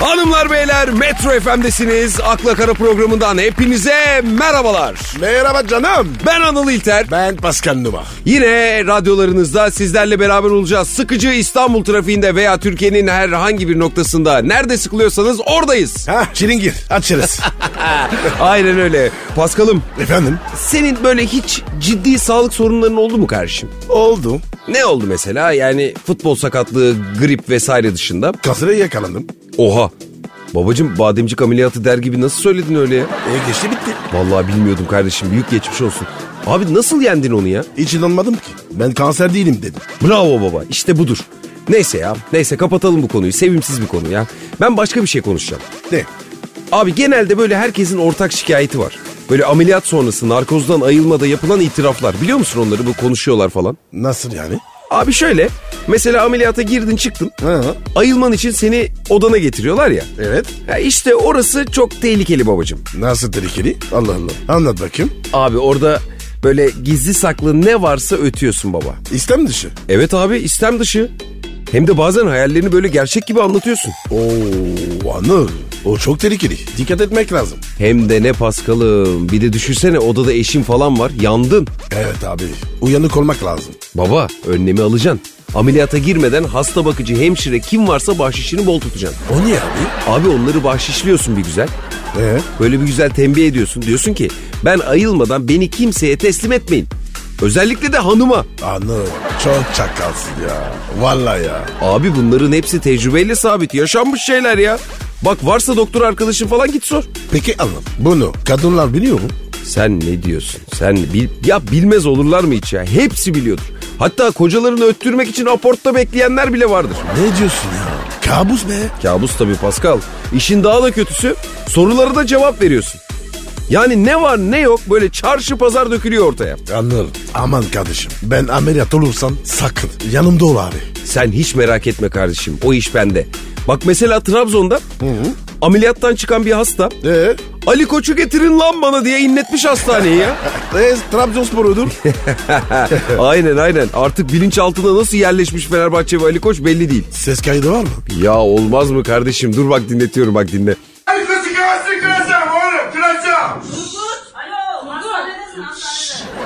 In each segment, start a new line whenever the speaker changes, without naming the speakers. Hanımlar beyler Metro FM'desiniz. Akla Kara programından hepinize merhabalar.
Merhaba canım.
Ben Anıl İlter.
Ben Pascal Numa.
Yine radyolarınızda sizlerle beraber olacağız. Sıkıcı İstanbul trafiğinde veya Türkiye'nin herhangi bir noktasında nerede sıkılıyorsanız oradayız.
Ha çilingir açarız.
Aynen öyle. Paskal'ım
Efendim?
senin böyle hiç ciddi sağlık sorunların oldu mu kardeşim?
Oldu.
Ne oldu mesela? Yani futbol sakatlığı, grip vesaire dışında.
Kasıra yakalandım.
Oha. Babacım bademcik ameliyatı der gibi nasıl söyledin öyle ya?
E geçti bitti.
Vallahi bilmiyordum kardeşim. Büyük geçmiş olsun. Abi nasıl yendin onu ya?
Hiç inanmadım ki. Ben kanser değilim dedim.
Bravo baba. İşte budur. Neyse ya. Neyse kapatalım bu konuyu. Sevimsiz bir konu ya. Ben başka bir şey konuşacağım.
Ne?
Abi genelde böyle herkesin ortak şikayeti var. Böyle ameliyat sonrası narkozdan ayılmada yapılan itiraflar. Biliyor musun onları bu konuşuyorlar falan?
Nasıl yani?
Abi şöyle. Mesela ameliyata girdin çıktın.
Ha,
Ayılman için seni odana getiriyorlar ya.
evet.
Ya işte orası çok tehlikeli babacım.
Nasıl tehlikeli? Allah Allah. Anlat bakayım.
Abi orada böyle gizli saklı ne varsa ötüyorsun baba.
İstem dışı.
Evet abi istem dışı. Hem de bazen hayallerini böyle gerçek gibi anlatıyorsun.
Oo Anıl. O çok tehlikeli. Dikkat etmek lazım.
Hem de ne paskalım. Bir de düşünsene odada eşin falan var. Yandın.
Evet abi. Uyanık olmak lazım.
Baba önlemi alacaksın. Ameliyata girmeden hasta bakıcı hemşire kim varsa bahşişini bol tutacaksın.
O niye abi?
Abi onları bahşişliyorsun bir güzel.
Ee?
Böyle bir güzel tembih ediyorsun. Diyorsun ki ben ayılmadan beni kimseye teslim etmeyin. Özellikle de hanıma.
Anıl. Çok çakalsın ya. Vallahi ya.
Abi bunların hepsi tecrübeyle sabit. Yaşanmış şeyler ya. Bak varsa doktor arkadaşın falan git sor.
Peki Anıl. Bunu kadınlar biliyor mu?
Sen ne diyorsun? Sen bil- ya bilmez olurlar mı hiç ya? Hepsi biliyordur. Hatta kocalarını öttürmek için aportta bekleyenler bile vardır.
Ne diyorsun ya? Kabus be.
Kabus tabii Pascal. İşin daha da kötüsü sorulara da cevap veriyorsun. Yani ne var ne yok böyle çarşı pazar dökülüyor ortaya.
Anlarım. Aman kardeşim ben ameliyat olursam sakın yanımda ol abi.
Sen hiç merak etme kardeşim o iş bende. Bak mesela Trabzon'da ameliyattan çıkan bir hasta
Eee?
Ali Koç'u getirin lan bana diye inletmiş hastaneyi ya.
Eee e, Trabzonspor'udur.
aynen aynen artık bilinçaltına nasıl yerleşmiş Fenerbahçe ve Ali Koç belli değil.
Ses kaydı var mı?
Ya olmaz mı kardeşim? Dur bak dinletiyorum bak dinle.
Herkesi gelsin kıracağım oğlum kıracağım.
Alo, hastanedesin hastanede.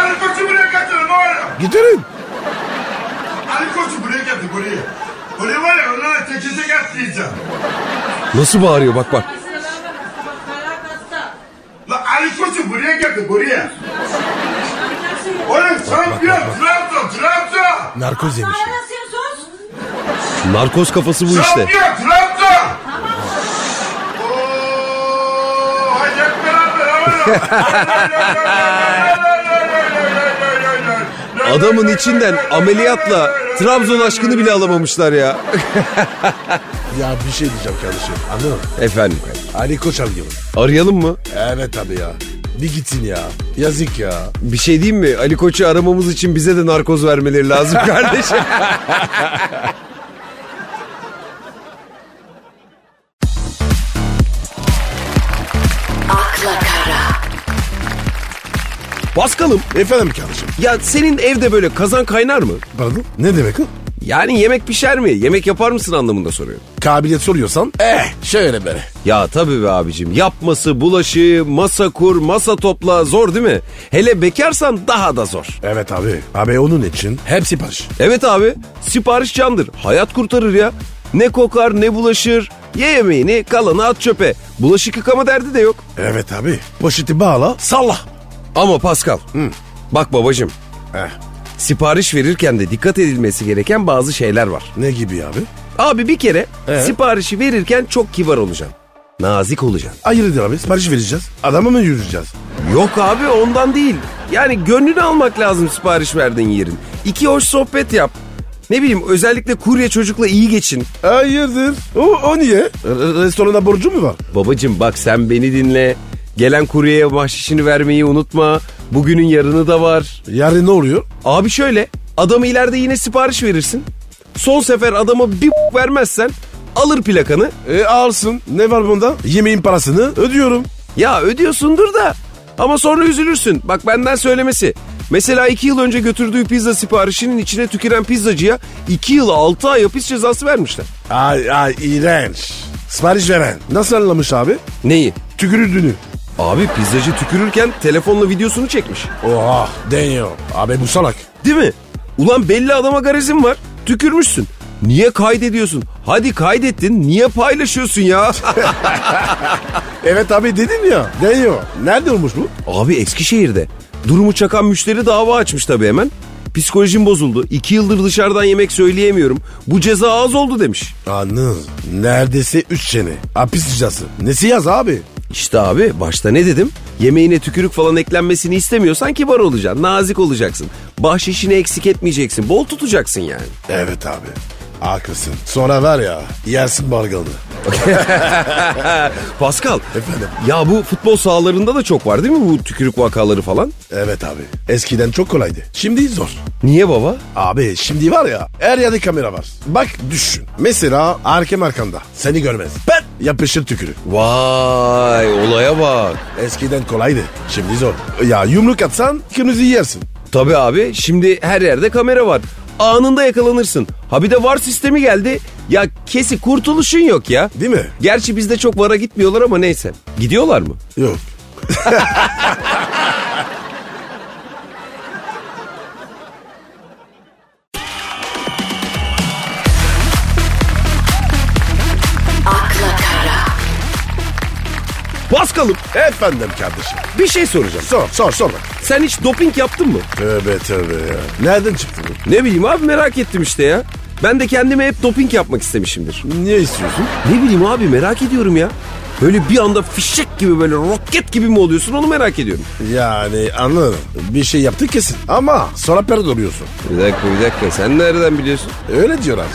Ali Koç'u buraya getirin oğlum.
Giderim.
Ali Koç'u buraya getir buraya. Buraya var ya onlara tekisi getireceğim.
Nasıl bağırıyor bak bak.
Hastanede beraber hasta, bak beraber hasta.
Lan Ali Koç'u buraya getir buraya.
Hastanede
Oğlum şampiyon Trabzon Trabzon.
Narkoz yemiş.
Hastanedesin sus.
Narkoz kafası bu işte.
Şampiyon Trabzon. Oo, hadi hep beraber oğlum.
Adamın içinden ameliyatla Trabzon aşkını bile alamamışlar ya.
Ya bir şey diyeceğim kardeşim. Anladın mı?
Efendim
Ali Koç gibi.
arayalım mı?
Evet abi ya. Bir gitsin ya. Yazık ya.
Bir şey diyeyim mi? Ali Koç'u aramamız için bize de narkoz vermeleri lazım kardeşim.
Akla Kara.
Paskal'ım
Efendim kardeşim.
ya senin evde böyle kazan kaynar mı?
Pardon? Ne demek o?
Yani yemek pişer mi? Yemek yapar mısın anlamında soruyorum.
Kabiliyet soruyorsan. Eh şöyle böyle.
Ya tabii be abicim yapması, bulaşı, masa kur, masa topla zor değil mi? Hele bekarsan daha da zor.
Evet abi. Abi onun için hepsi baş.
Evet abi sipariş candır. Hayat kurtarır ya. Ne kokar ne bulaşır. Ye yemeğini kalanı at çöpe. Bulaşık yıkama derdi de yok.
Evet abi. Poşeti bağla salla.
Ama Pascal. Bak babacım
Eh.
sipariş verirken de dikkat edilmesi gereken bazı şeyler var.
Ne gibi abi?
Abi bir kere
Ee?
siparişi verirken çok kibar olacaksın. Nazik olacaksın.
Hayırdır abi? Sipariş vereceğiz. Adama mı yürüyeceğiz?
Yok abi ondan değil. Yani gönlünü almak lazım sipariş verdiğin yerin. İki hoş sohbet yap. Ne bileyim özellikle kurye çocukla iyi geçin.
Hayırdır? O, o niye? R- restorana borcu mu var?
Babacım bak sen beni dinle. Gelen kuryeye bahşişini vermeyi unutma. Bugünün yarını da var.
Yarın ne oluyor?
Abi şöyle adamı ileride yine sipariş verirsin. Son sefer adama bir vermezsen alır plakanı. Ee,
E alsın. Ne var bunda? Yemeğin parasını ödüyorum.
Ya ödüyorsundur da ama sonra üzülürsün. Bak benden söylemesi. Mesela iki yıl önce götürdüğü pizza siparişinin içine tüküren pizzacıya iki yıl altı ay hapis cezası vermişler.
Ay ay iğrenç. Sipariş veren. Nasıl anlamış abi?
Neyi?
Tükürüldüğünü.
Abi pizzacı tükürürken telefonla videosunu çekmiş.
Oha deniyor. Abi bu salak.
Değil mi? Ulan belli adama garizim var. Tükürmüşsün. Niye kaydediyorsun? Hadi kaydettin. Niye paylaşıyorsun ya?
Evet abi dedim ya. Deniyor. Nerede olmuş bu?
Abi Eskişehir'de. Durumu çakan müşteri dava açmış tabii hemen. Psikolojim bozuldu. İki yıldır dışarıdan yemek söyleyemiyorum. Bu ceza az oldu demiş.
Anız. Neredeyse 3 sene. Hapis cezası. Nesi yaz abi?
İşte abi başta ne dedim? Yemeğine tükürük falan eklenmesini istemiyorsan kibar olacaksın, nazik olacaksın. Bahşişini eksik etmeyeceksin, bol tutacaksın yani.
Evet abi. Haklısın. Sonra var ya yersin bargalı.
Pascal.
Efendim?
Ya bu futbol sahalarında da çok var değil mi bu tükürük vakaları falan?
Evet abi. Eskiden çok kolaydı. Şimdi zor.
Niye baba?
Abi şimdi var ya her yerde kamera var. Bak düşün. Mesela arkem arkanda. Seni görmez. Pet yapışır tükürü.
Vay olaya bak.
Eskiden kolaydı. Şimdi zor. Ya yumruk atsan kırmızı yersin.
Tabii abi şimdi her yerde kamera var. Anında yakalanırsın. Ha bir de var sistemi geldi. Ya kesi kurtuluşun yok ya.
Değil mi?
Gerçi bizde çok vara gitmiyorlar ama neyse. Gidiyorlar mı?
Yok.
Paskal'ım
Efendim kardeşim.
bir şey soracağım.
Sor sor sor bak.
Sen hiç doping yaptın mı?
Tövbe tövbe ya. Nereden çıktı bu?
Ne bileyim abi merak ettim işte ya. Ben de kendime hep doping yapmak istemişimdir.
Niye istiyorsun?
Ne bileyim abi merak ediyorum ya. Böyle bir anda fişek gibi böyle roket gibi mi oluyorsun onu merak ediyorum.
Yani anladım. Bir şey yaptı kesin. Ama sonra perde oluyorsun.
Bir dakika bir dakika sen nereden biliyorsun?
Öyle diyorlar.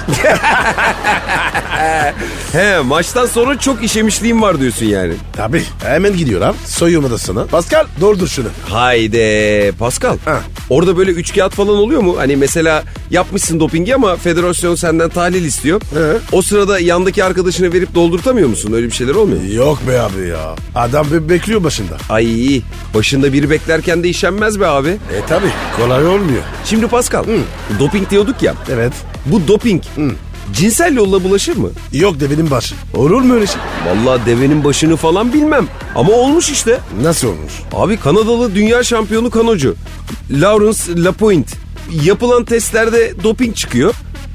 He maçtan sonra çok işemişliğim var diyorsun yani.
Tabii. Hemen gidiyor abi. Soyunma odasına. Pascal doğrudur şunu.
Haydi Pascal.
Ha.
Orada böyle üç kağıt falan oluyor mu? Hani mesela yapmışsın dopingi ama federasyon senden tahlil istiyor.
Ee?
O sırada yandaki arkadaşına verip doldurtamıyor musun? Öyle bir şeyler olmuyor. mu?
Yok be abi ya. Adam be- bekliyor başında.
Ay başında biri beklerken de işenmez be abi.
E tabi. Kolay olmuyor.
Şimdi Pascal doping diyorduk ya.
Evet.
Bu doping cinsel yolla bulaşır mı?
Yok devenin başı. Olur mu öyle şey?
Vallahi devenin başını falan bilmem. Ama olmuş işte.
Nasıl olmuş?
Abi Kanadalı dünya şampiyonu kanocu. Lawrence Lapointe. Yapılan testlerde doping çıkıyor.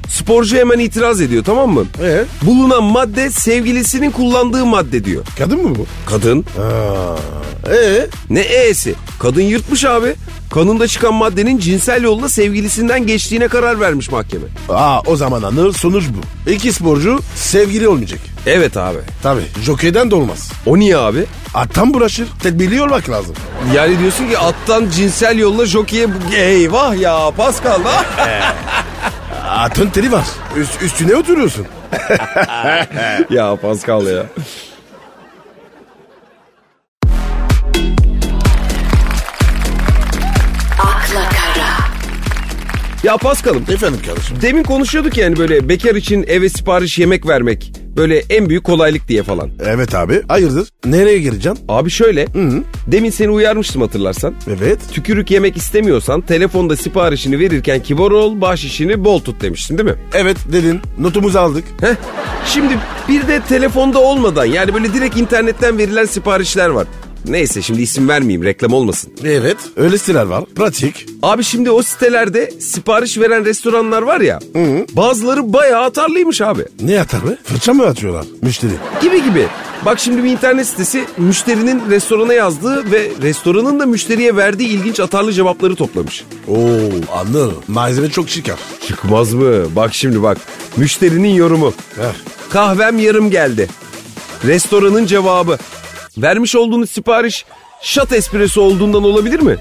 Sporcu hemen itiraz ediyor tamam mı?
Ee?
Bulunan madde sevgilisinin kullandığı madde diyor.
Kadın mı bu?
Kadın.
Aa. E
Ne e'si? Kadın yırtmış abi. Kanında çıkan maddenin cinsel yolla sevgilisinden geçtiğine karar vermiş mahkeme.
Aa o zaman anır sonuç bu. İki sporcu sevgili olmayacak.
Evet abi.
Tabi. Jokeyden de olmaz.
O niye abi?
Attan bulaşır. Tedbirli olmak lazım.
Yani diyorsun ki attan cinsel yolla jockey'e... Eyvah ya Pascal ha?
Atın teli var. Üst, üstüne oturuyorsun.
ya Pascal ya. Ya Pascal'ım
Efendim kardeşim.
demin konuşuyorduk yani böyle bekar için eve sipariş yemek vermek böyle en büyük kolaylık diye falan.
Evet abi. Hayırdır? Nereye gireceğim?
Abi şöyle demin seni uyarmıştım hatırlarsan.
Evet.
Tükürük yemek istemiyorsan telefonda siparişini verirken kibar ol bahşişini bol tut demiştin değil mi?
Evet dedin. Notumuzu aldık.
Heh. Şimdi bir de telefonda olmadan yani böyle direkt internetten verilen siparişler var. Neyse şimdi isim vermeyeyim reklam olmasın.
Evet. Öyle siteler var. Pratik.
Abi şimdi o sitelerde sipariş veren restoranlar var ya bazıları bayağı atarlıymış abi.
Ne atar be? Fırça mı atıyorlar müşteri?
Gibi gibi. Bak şimdi bir internet sitesi müşterinin restorana yazdığı ve restoranın da müşteriye verdiği ilginç atarlı cevapları toplamış.
Oo anladım. Malzeme çok çıkar.
Çıkmaz mı? Bak şimdi bak. Müşterinin yorumu.
Heh.
Kahvem yarım geldi. Restoranın cevabı. Vermiş olduğunuz sipariş şat espresso olduğundan olabilir mi?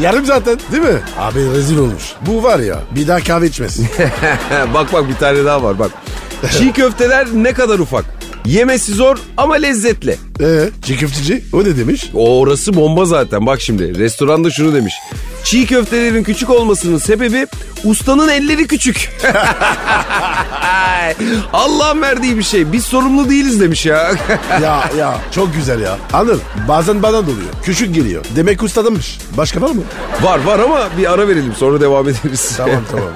Yarım zaten değil mi? Abi rezil olmuş. Bu var ya bir daha kahve içmez.
bak bak bir tane daha var bak. Çiğ köfteler ne kadar ufak. Yemesi zor ama lezzetli.
Eee Ee, çiğ köfteci o ne demiş?
O orası bomba zaten. Bak şimdi restoranda şunu demiş. Çiğ köftelerin küçük olmasının sebebi ustanın elleri küçük. Allah'ın verdiği bir şey. Biz sorumlu değiliz demiş ya.
ya ya çok güzel ya. Anıl bazen bana oluyor. Küçük geliyor. Demek ustadınmış. Başka var mı?
var var ama bir ara verelim sonra devam ederiz.
Tamam tamam.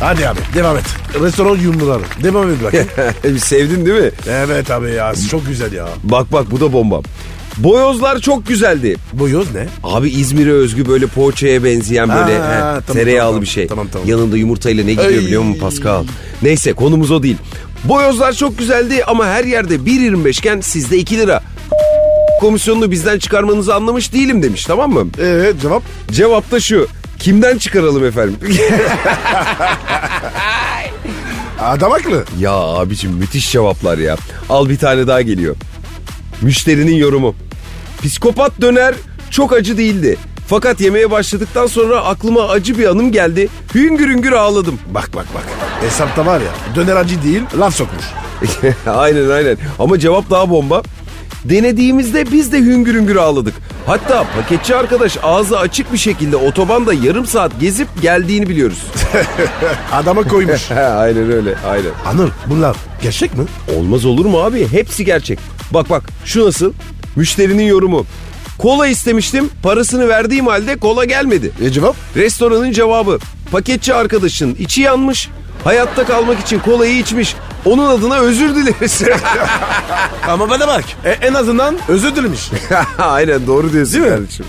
Hadi abi devam et. Restoran yumruları. Devam et bakayım.
Sevdin değil mi?
evet abi ya çok güzel ya.
Bak bak bu da bomba. Boyozlar çok güzeldi.
Bu yoz ne?
Abi İzmir'e özgü böyle poğaçaya benzeyen
Ha,
böyle he,
tamam,
tereyağlı
tamam,
bir şey.
tamam, tamam.
Yanında yumurtayla ne gidiyor
Ay.
biliyor musun Pascal? Neyse konumuz o değil. Boyozlar çok güzeldi ama her yerde 1.25 iken sizde 2 lira. Komisyonunu bizden çıkarmanızı anlamış değilim demiş tamam mı?
Ee cevap?
Cevap da şu. Kimden çıkaralım efendim?
Adam haklı.
ya abicim müthiş cevaplar ya. Al bir tane daha geliyor. Müşterinin yorumu. Psikopat döner çok acı değildi. Fakat yemeye başladıktan sonra aklıma acı bir anım geldi. Hüngür hüngür ağladım.
Bak bak bak. Hesapta var ya döner acı değil laf sokmuş.
aynen aynen. Ama cevap daha bomba. Denediğimizde biz de hüngür hüngür ağladık. Hatta paketçi arkadaş ağzı açık bir şekilde otobanda yarım saat gezip geldiğini biliyoruz.
Adama koymuş.
He aynen öyle aynen.
Anıl bunlar gerçek mi?
Olmaz olur mu abi? Hepsi gerçek. Bak bak şu nasıl? Müşterinin yorumu. Kola istemiştim, parasını verdiğim halde kola gelmedi.
E cevap?
Restoranın cevabı. Paketçi arkadaşın içi yanmış, hayatta kalmak için kolayı içmiş. Onun adına özür dileriz.
Ama bana bak. E, en azından özür dilemiş.
Aynen doğru diyorsun
Değil mi?
kardeşim.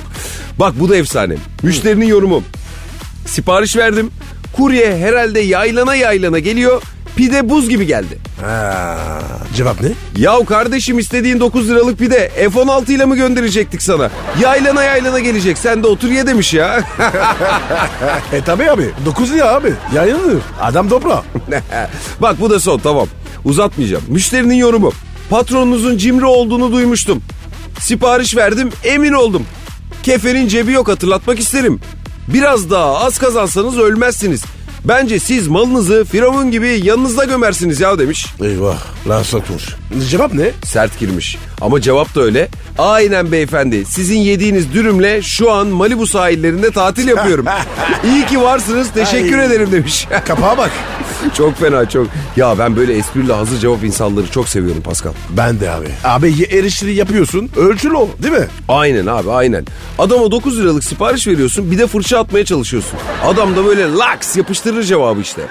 Bak bu da efsane. Müşterinin yorumu. Sipariş verdim. Kurye herhalde yaylana yaylana geliyor. Pide buz gibi geldi.
Ha, cevap ne?
Yahu kardeşim istediğin 9 liralık pide F-16 ile mi gönderecektik sana? Yaylana yaylana gelecek sen de otur ye demiş ya.
E tabi abi. 9 lira abi. Yayınlanır. Adam dobra.
Bak bu da son tamam. Uzatmayacağım. Müşterinin yorumu. Patronunuzun cimri olduğunu duymuştum. Sipariş verdim emin oldum. Kefenin cebi yok hatırlatmak isterim. Biraz daha az kazansanız ölmezsiniz. Bence siz malınızı firavun gibi yanınızda gömersiniz ya demiş.
Eyvah. Laf sokmuş. Cevap ne?
Sert girmiş. Ama cevap da öyle. Aynen beyefendi sizin yediğiniz dürümle şu an Malibu sahillerinde tatil yapıyorum. İyi ki varsınız teşekkür
Ay.
ederim demiş.
Kapağa bak.
çok fena çok. Ya ben böyle espriyle hazır cevap insanları çok seviyorum Pascal.
Ben de abi. Abi ye- erişleri yapıyorsun. Ölçülü o değil mi?
Aynen abi aynen. Adama 9 liralık sipariş veriyorsun bir de fırça atmaya çalışıyorsun. Adam da böyle laks yapıştırır cevabı işte.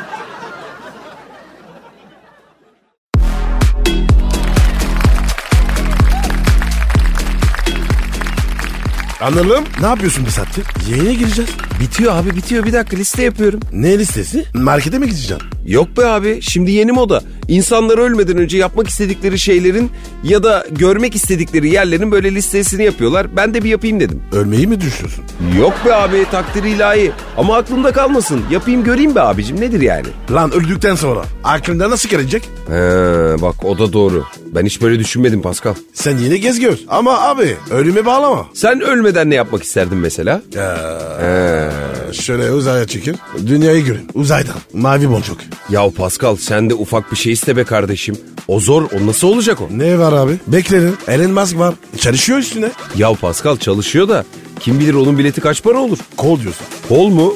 Anladım. Ne yapıyorsun bir saattir? Yayına gireceğiz.
Bitiyor abi bitiyor bir dakika liste yapıyorum.
Ne listesi? Markete mi gideceksin?
Yok be abi şimdi yeni moda. İnsanlar ölmeden önce yapmak istedikleri şeylerin ya da görmek istedikleri yerlerin böyle listesini yapıyorlar. Ben de bir yapayım dedim.
Ölmeyi mi düşünüyorsun?
Yok be abi takdir ilahi. Ama aklımda kalmasın. Yapayım göreyim be abicim nedir yani?
Lan öldükten sonra aklında nasıl gelecek?
He bak o da doğru. Ben hiç böyle düşünmedim Pascal.
Sen yine gez gör. Ama abi ölüme bağlama.
Sen ölmeden ne yapmak isterdin mesela?
Şöyle uzaya çekin. Dünyayı görün. Uzaydan. Mavi boncuk.
Ya Pascal sen de ufak bir şey iste be kardeşim. O zor o nasıl olacak o?
Ne var abi? Beklerim. Elon Musk var. Çalışıyor üstüne.
Ya Pascal çalışıyor da kim bilir onun bileti kaç para olur?
Kol diyorsun.
Kol mu?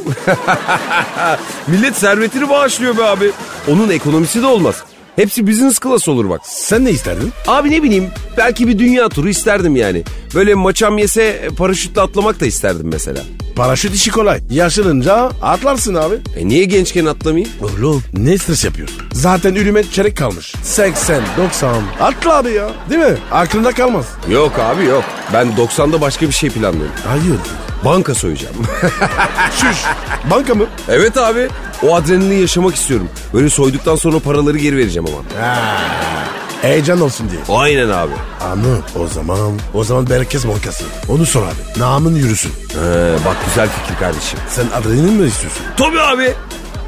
Millet servetini bağışlıyor be abi. Onun ekonomisi de olmaz. Hepsi business class olur bak.
Sen ne isterdin?
Abi ne bileyim belki bir dünya turu isterdim yani. Böyle maçam yese e, paraşütle atlamak da isterdim mesela.
Paraşüt işi kolay. Yaşlanınca atlarsın abi.
E niye gençken atlamayayım?
Oğlum ne stres yapıyorsun? Zaten ürüme çeyrek kalmış. 80, 90. Atla abi ya. Değil mi? Aklında kalmaz.
Yok abi yok. Ben 90'da başka bir şey planlıyorum.
Hayır.
Banka soyacağım.
Şuş. Banka mı?
evet abi. O adrenalini yaşamak istiyorum. Böyle soyduktan sonra paraları geri vereceğim ama.
Heyecan olsun diye.
Aynen abi.
Anı o zaman. O zaman Merkez Bankası. Onu sor abi. Namın yürüsün.
He, bak güzel fikir kardeşim.
Sen adrenalin mi istiyorsun?
Tabii abi.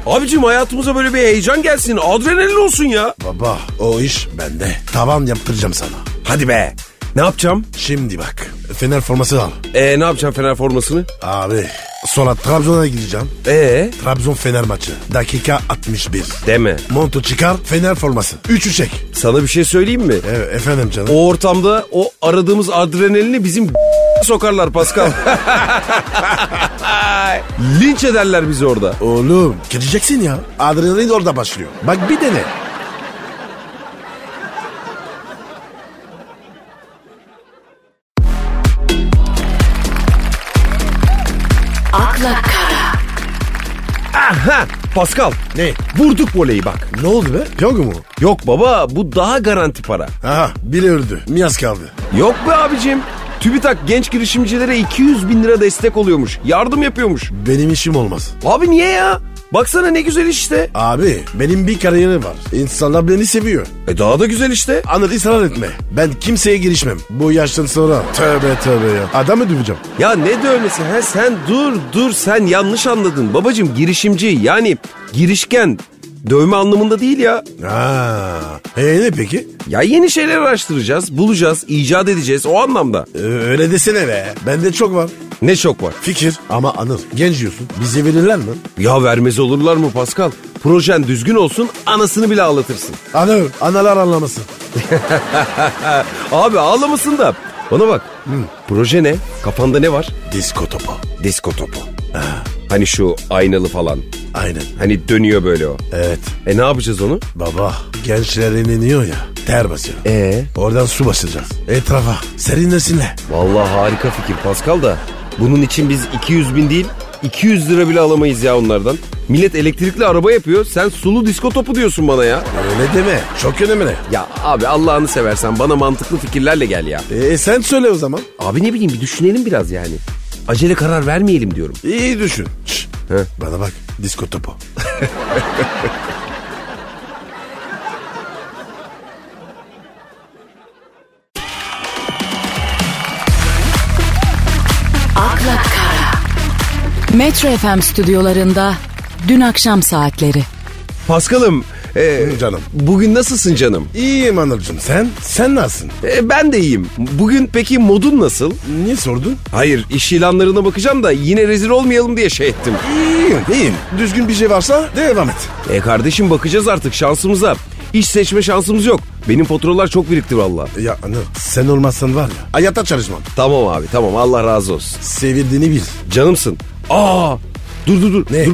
Abicim hayatımıza böyle bir heyecan gelsin. Adrenalin olsun ya.
Baba o iş bende. Tavan yaptıracağım sana.
Hadi be. Ne yapacağım?
Şimdi bak. Fener forması al.
Ee ne yapacağım Fener formasını?
Abi. Sonra Trabzon'a gideceğim.
Ee
Trabzon Fener maçı. Dakika 61.
deme.
Montu çıkar Fener forması. Üçü çek.
Sana bir şey söyleyeyim mi?
E, efendim canım.
O ortamda o aradığımız adrenalini bizim sokarlar Pascal. Linç ederler bizi orada.
Oğlum gireceksin ya. Adrenalin orada başlıyor. Bak bir dene.
akla kara,
Aha Pascal.
Ne?
Vurduk voleyi bak.
Ne oldu be? Yok mu?
Yok baba bu daha garanti para.
Aha biri öldü. Miyaz kaldı.
Yok be abicim. TÜBİTAK genç girişimcilere 200 bin lira destek oluyormuş. Yardım yapıyormuş.
Benim işim olmaz.
Abi niye ya? Baksana ne güzel işte.
Abi benim bir kariyerim var. İnsanlar beni seviyor.
E daha da güzel işte.
Anıl ısrar etme. Ben kimseye girişmem. Bu yaştan sonra. Tövbe tövbe ya. Adamı döveceğim.
Ya ne dövmesi he sen dur dur sen yanlış anladın. Babacım girişimci yani girişken dövme anlamında değil ya.
Ha. E ne peki?
Ya yeni şeyler araştıracağız, bulacağız, icat edeceğiz o anlamda.
Ee, öyle desene be. Bende çok var.
Ne şok var.
Fikir. Ama Anıl genç diyorsun. Bize verirler mi?
Ya vermez olurlar mı Pascal? Projen düzgün olsun anasını bile ağlatırsın.
Anıl. Analar anlamasın.
Abi ağlamasın da bana bak. Proje ne? Kafanda ne var?
Disko topu.
Disko topu. Hani şu aynalı falan.
Aynen.
Hani dönüyor böyle o.
Evet.
E ne yapacağız onu?
Baba gençler ineniyor ya. Ter basıyor.
Ee?
Oradan su basacağız. Etrafa. Serinlesinler.
Vallahi harika fikir Pascal da. Bunun için biz 200 bin değil 200 lira bile alamayız ya onlardan. Millet elektrikli araba yapıyor. Sen sulu disko topu diyorsun bana ya.
Öyle deme. Çok önemli.
Ya abi Allah'ını seversen bana mantıklı fikirlerle gel ya.
E, sen söyle o zaman.
Abi ne bileyim bir düşünelim biraz yani. Acele karar vermeyelim diyorum.
İyi düşün. Şşt.
He.
Bana bak. Disko topu.
akla kara. Metro FM stüdyolarında dün akşam saatleri.
Paskal'ım e,
Canım.
bugün nasılsın canım?
İyiyim Anıl'cığım. Sen? Sen nasılsın?
E, ben de iyiyim. Bugün peki modun nasıl?
Niye sordun?
Hayır iş ilanlarına bakacağım da yine rezil olmayalım diye şey ettim.
İyiyim. İyiyim. Düzgün bir şey varsa devam et.
E kardeşim bakacağız artık şansımıza. İş seçme şansımız yok. Benim faturalar çok birikti valla.
Ya Anıl sen olmazsan var ya. Hayatta çalışmam.
Tamam abi tamam Allah razı olsun.
Sevildiğini bil.
Canımsın. Aa dur dur dur.
Ne?
Dur.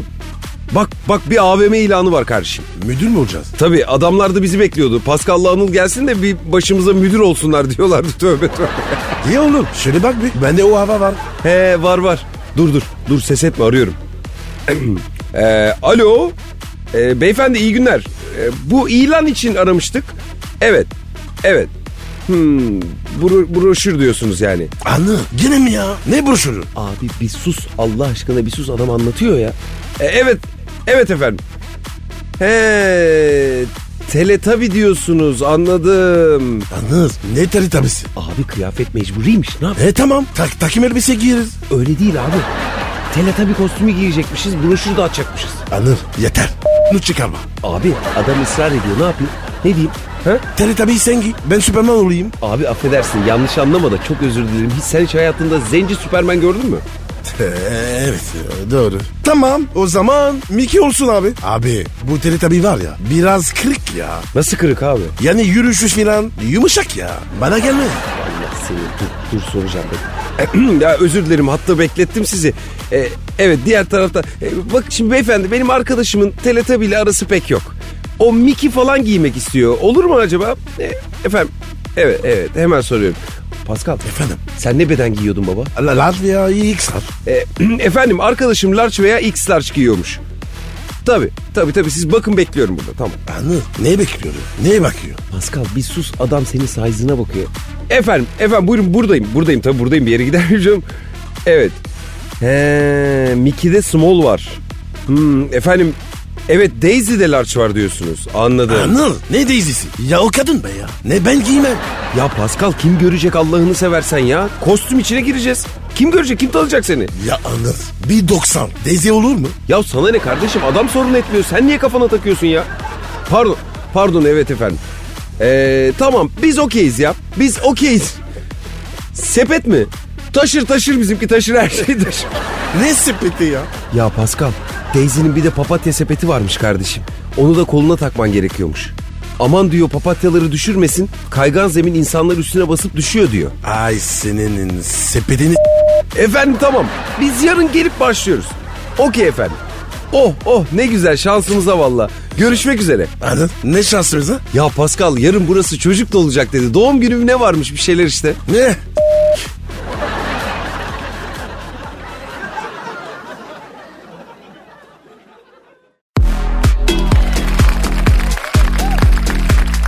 Bak bak bir AVM ilanı var kardeşim.
Müdür mü olacağız?
Tabii adamlar da bizi bekliyordu. Pascal'la Anıl gelsin de bir başımıza müdür olsunlar diyorlardı tövbe tövbe.
İyi oğlum. Şöyle bak bir. Bende o hava var.
He var var. Dur dur dur ses etme arıyorum. Ee, alo. Ee, beyefendi iyi günler. Ee, bu ilan için aramıştık. Evet. Evet. Hmm, bro- broşür diyorsunuz yani.
Anıl gene mi ya? Ne broşürü?
Abi bir sus Allah aşkına bir sus adam anlatıyor ya. E, evet. Evet efendim. He. Teletabi diyorsunuz anladım.
Anıl ne teri tabisi?
Abi kıyafet mecburiymiş. Ne yap?
E tamam tak, takım elbise giyeriz.
Öyle değil abi. Teletabi kostümü giyecekmişiz, broşür de açacakmışız.
Anıl yeter. Nu çıkarma.
Abi adam ısrar ediyor ne yapayım? Ne diyeyim? Ha?
Teri tabii sen giy. Ben Süperman olayım.
Abi affedersin yanlış anlama da çok özür dilerim. Hiç sen hiç hayatında zenci süpermen gördün mü?
Ee, evet doğru. Tamam o zaman Mickey olsun abi. Abi bu teri tabii var ya biraz kırık ya.
Nasıl kırık abi?
Yani yürüyüşü filan yumuşak ya. Bana gelme.
Allah seni dur, dur soracağım ben. ya özür dilerim hatta beklettim sizi. Ee, evet diğer tarafta e, bak şimdi beyefendi benim arkadaşımın Teletabi ile arası pek yok. O Mickey falan giymek istiyor. Olur mu acaba? E, efendim evet evet hemen soruyorum. Pascal
Efendim?
sen ne beden giyiyordun baba?
La Latvia X var.
E, efendim arkadaşım large veya x large giyiyormuş. Tabi tabi tabi siz bakın bekliyorum burada tamam.
Anıl ne bekliyor? Neye bakıyor?
Pascal bir sus adam senin size'ına bakıyor. Efendim efendim buyurun buradayım buradayım tabi buradayım bir yere gider miyim canım? Evet. He, Mickey'de small var. Hmm, efendim evet Daisy'de large var diyorsunuz anladım.
Anıl ne deizisi? Ya o kadın be ya. Ne ben giymem.
Ya Pascal kim görecek Allah'ını seversen ya? Kostüm içine gireceğiz. Kim görecek kim tanıyacak seni?
Ya Anıl bir 90 Dezi olur mu?
Ya sana ne kardeşim adam sorun etmiyor. Sen niye kafana takıyorsun ya? Pardon. Pardon evet efendim. Ee, tamam biz okeyiz ya. Biz okeyiz. Sepet mi? Taşır taşır bizimki taşır her şeyi taşır.
Ne sepeti ya?
ya Pascal teyzenin bir de papatya sepeti varmış kardeşim. Onu da koluna takman gerekiyormuş. Aman diyor papatyaları düşürmesin. Kaygan zemin insanlar üstüne basıp düşüyor diyor.
Ay senin sepetini
Efendim tamam. Biz yarın gelip başlıyoruz. Okey efendim. Oh oh ne güzel şansımıza valla. Görüşmek üzere.
Anladın? Ne şansımız ha?
Ya Pascal yarın burası çocuk da olacak dedi. Doğum günüm ne varmış bir şeyler işte.
Ne?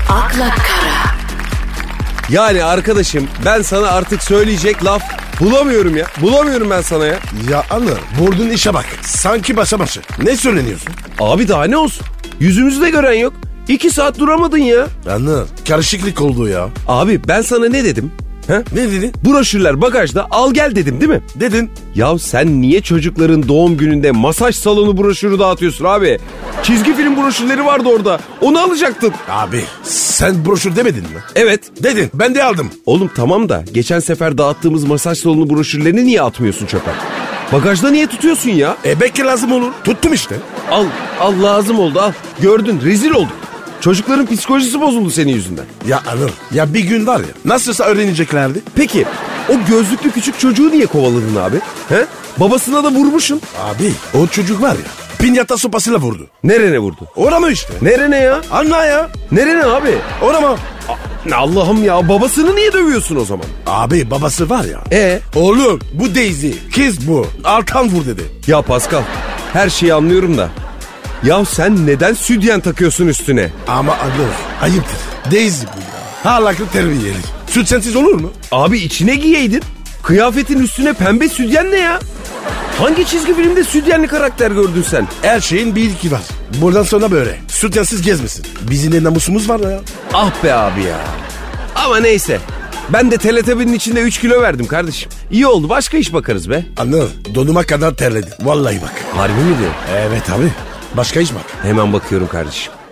Akla Kara.
Yani arkadaşım ben sana artık söyleyecek laf bulamıyorum ya. Bulamıyorum ben sana ya.
Ya Anıl vurduğun işe bak. Sanki başa başı. Ne söyleniyorsun?
Abi daha ne olsun? Yüzümüzü de gören yok. İki saat duramadın ya.
Anıl karışıklık oldu ya.
Abi ben sana ne dedim? He?
Ne dedin?
Broşürler bagajda al gel dedim değil mi?
Dedin.
Ya sen niye çocukların doğum gününde masaj salonu broşürü dağıtıyorsun abi? Çizgi film broşürleri vardı orada. Onu alacaktın.
Abi sen broşür demedin mi?
Evet.
Dedin ben de aldım.
Oğlum tamam da geçen sefer dağıttığımız masaj salonu broşürlerini niye atmıyorsun çöpe? Bagajda niye tutuyorsun ya?
E belki lazım olur. Tuttum işte.
Al, al lazım oldu al. Gördün rezil olduk. Çocukların psikolojisi bozuldu senin yüzünden.
Ya Anıl ya bir gün var ya nasılsa öğreneceklerdi.
Peki o gözlüklü küçük çocuğu niye kovaladın abi? He? Babasına da vurmuşsun.
Abi o çocuk var ya pinyata sopasıyla vurdu.
Nerene vurdu?
Orama işte.
Nerene ya?
Anla ya.
Nerene abi?
Orama.
Allah'ım ya babasını niye dövüyorsun o zaman?
Abi babası var ya.
E
Oğlum bu Daisy. Kız bu. Altan vur dedi.
ya Pascal her şeyi anlıyorum da. Ya sen neden südyen takıyorsun üstüne?
Ama Anıl ayıptır. Daisy bu ya. Halaklı terbiyeli. Süt sensiz olur mu?
Abi içine giyeydin. Kıyafetin üstüne pembe südyen ne ya? Hangi çizgi filmde südyenli karakter gördün sen?
Her şeyin bir ilki var. Buradan sonra böyle. Süt sensiz gezmesin. Bizim de namusumuz var ya.
Ah be abi ya. Ama neyse. Ben de Teletubby'nin içinde 3 kilo verdim kardeşim. İyi oldu başka iş bakarız be.
Anıl donuma kadar terledim. Vallahi bak.
Harbi mi diyor?
Evet abi. Başka iş bak.
Hemen bakıyorum kardeşim.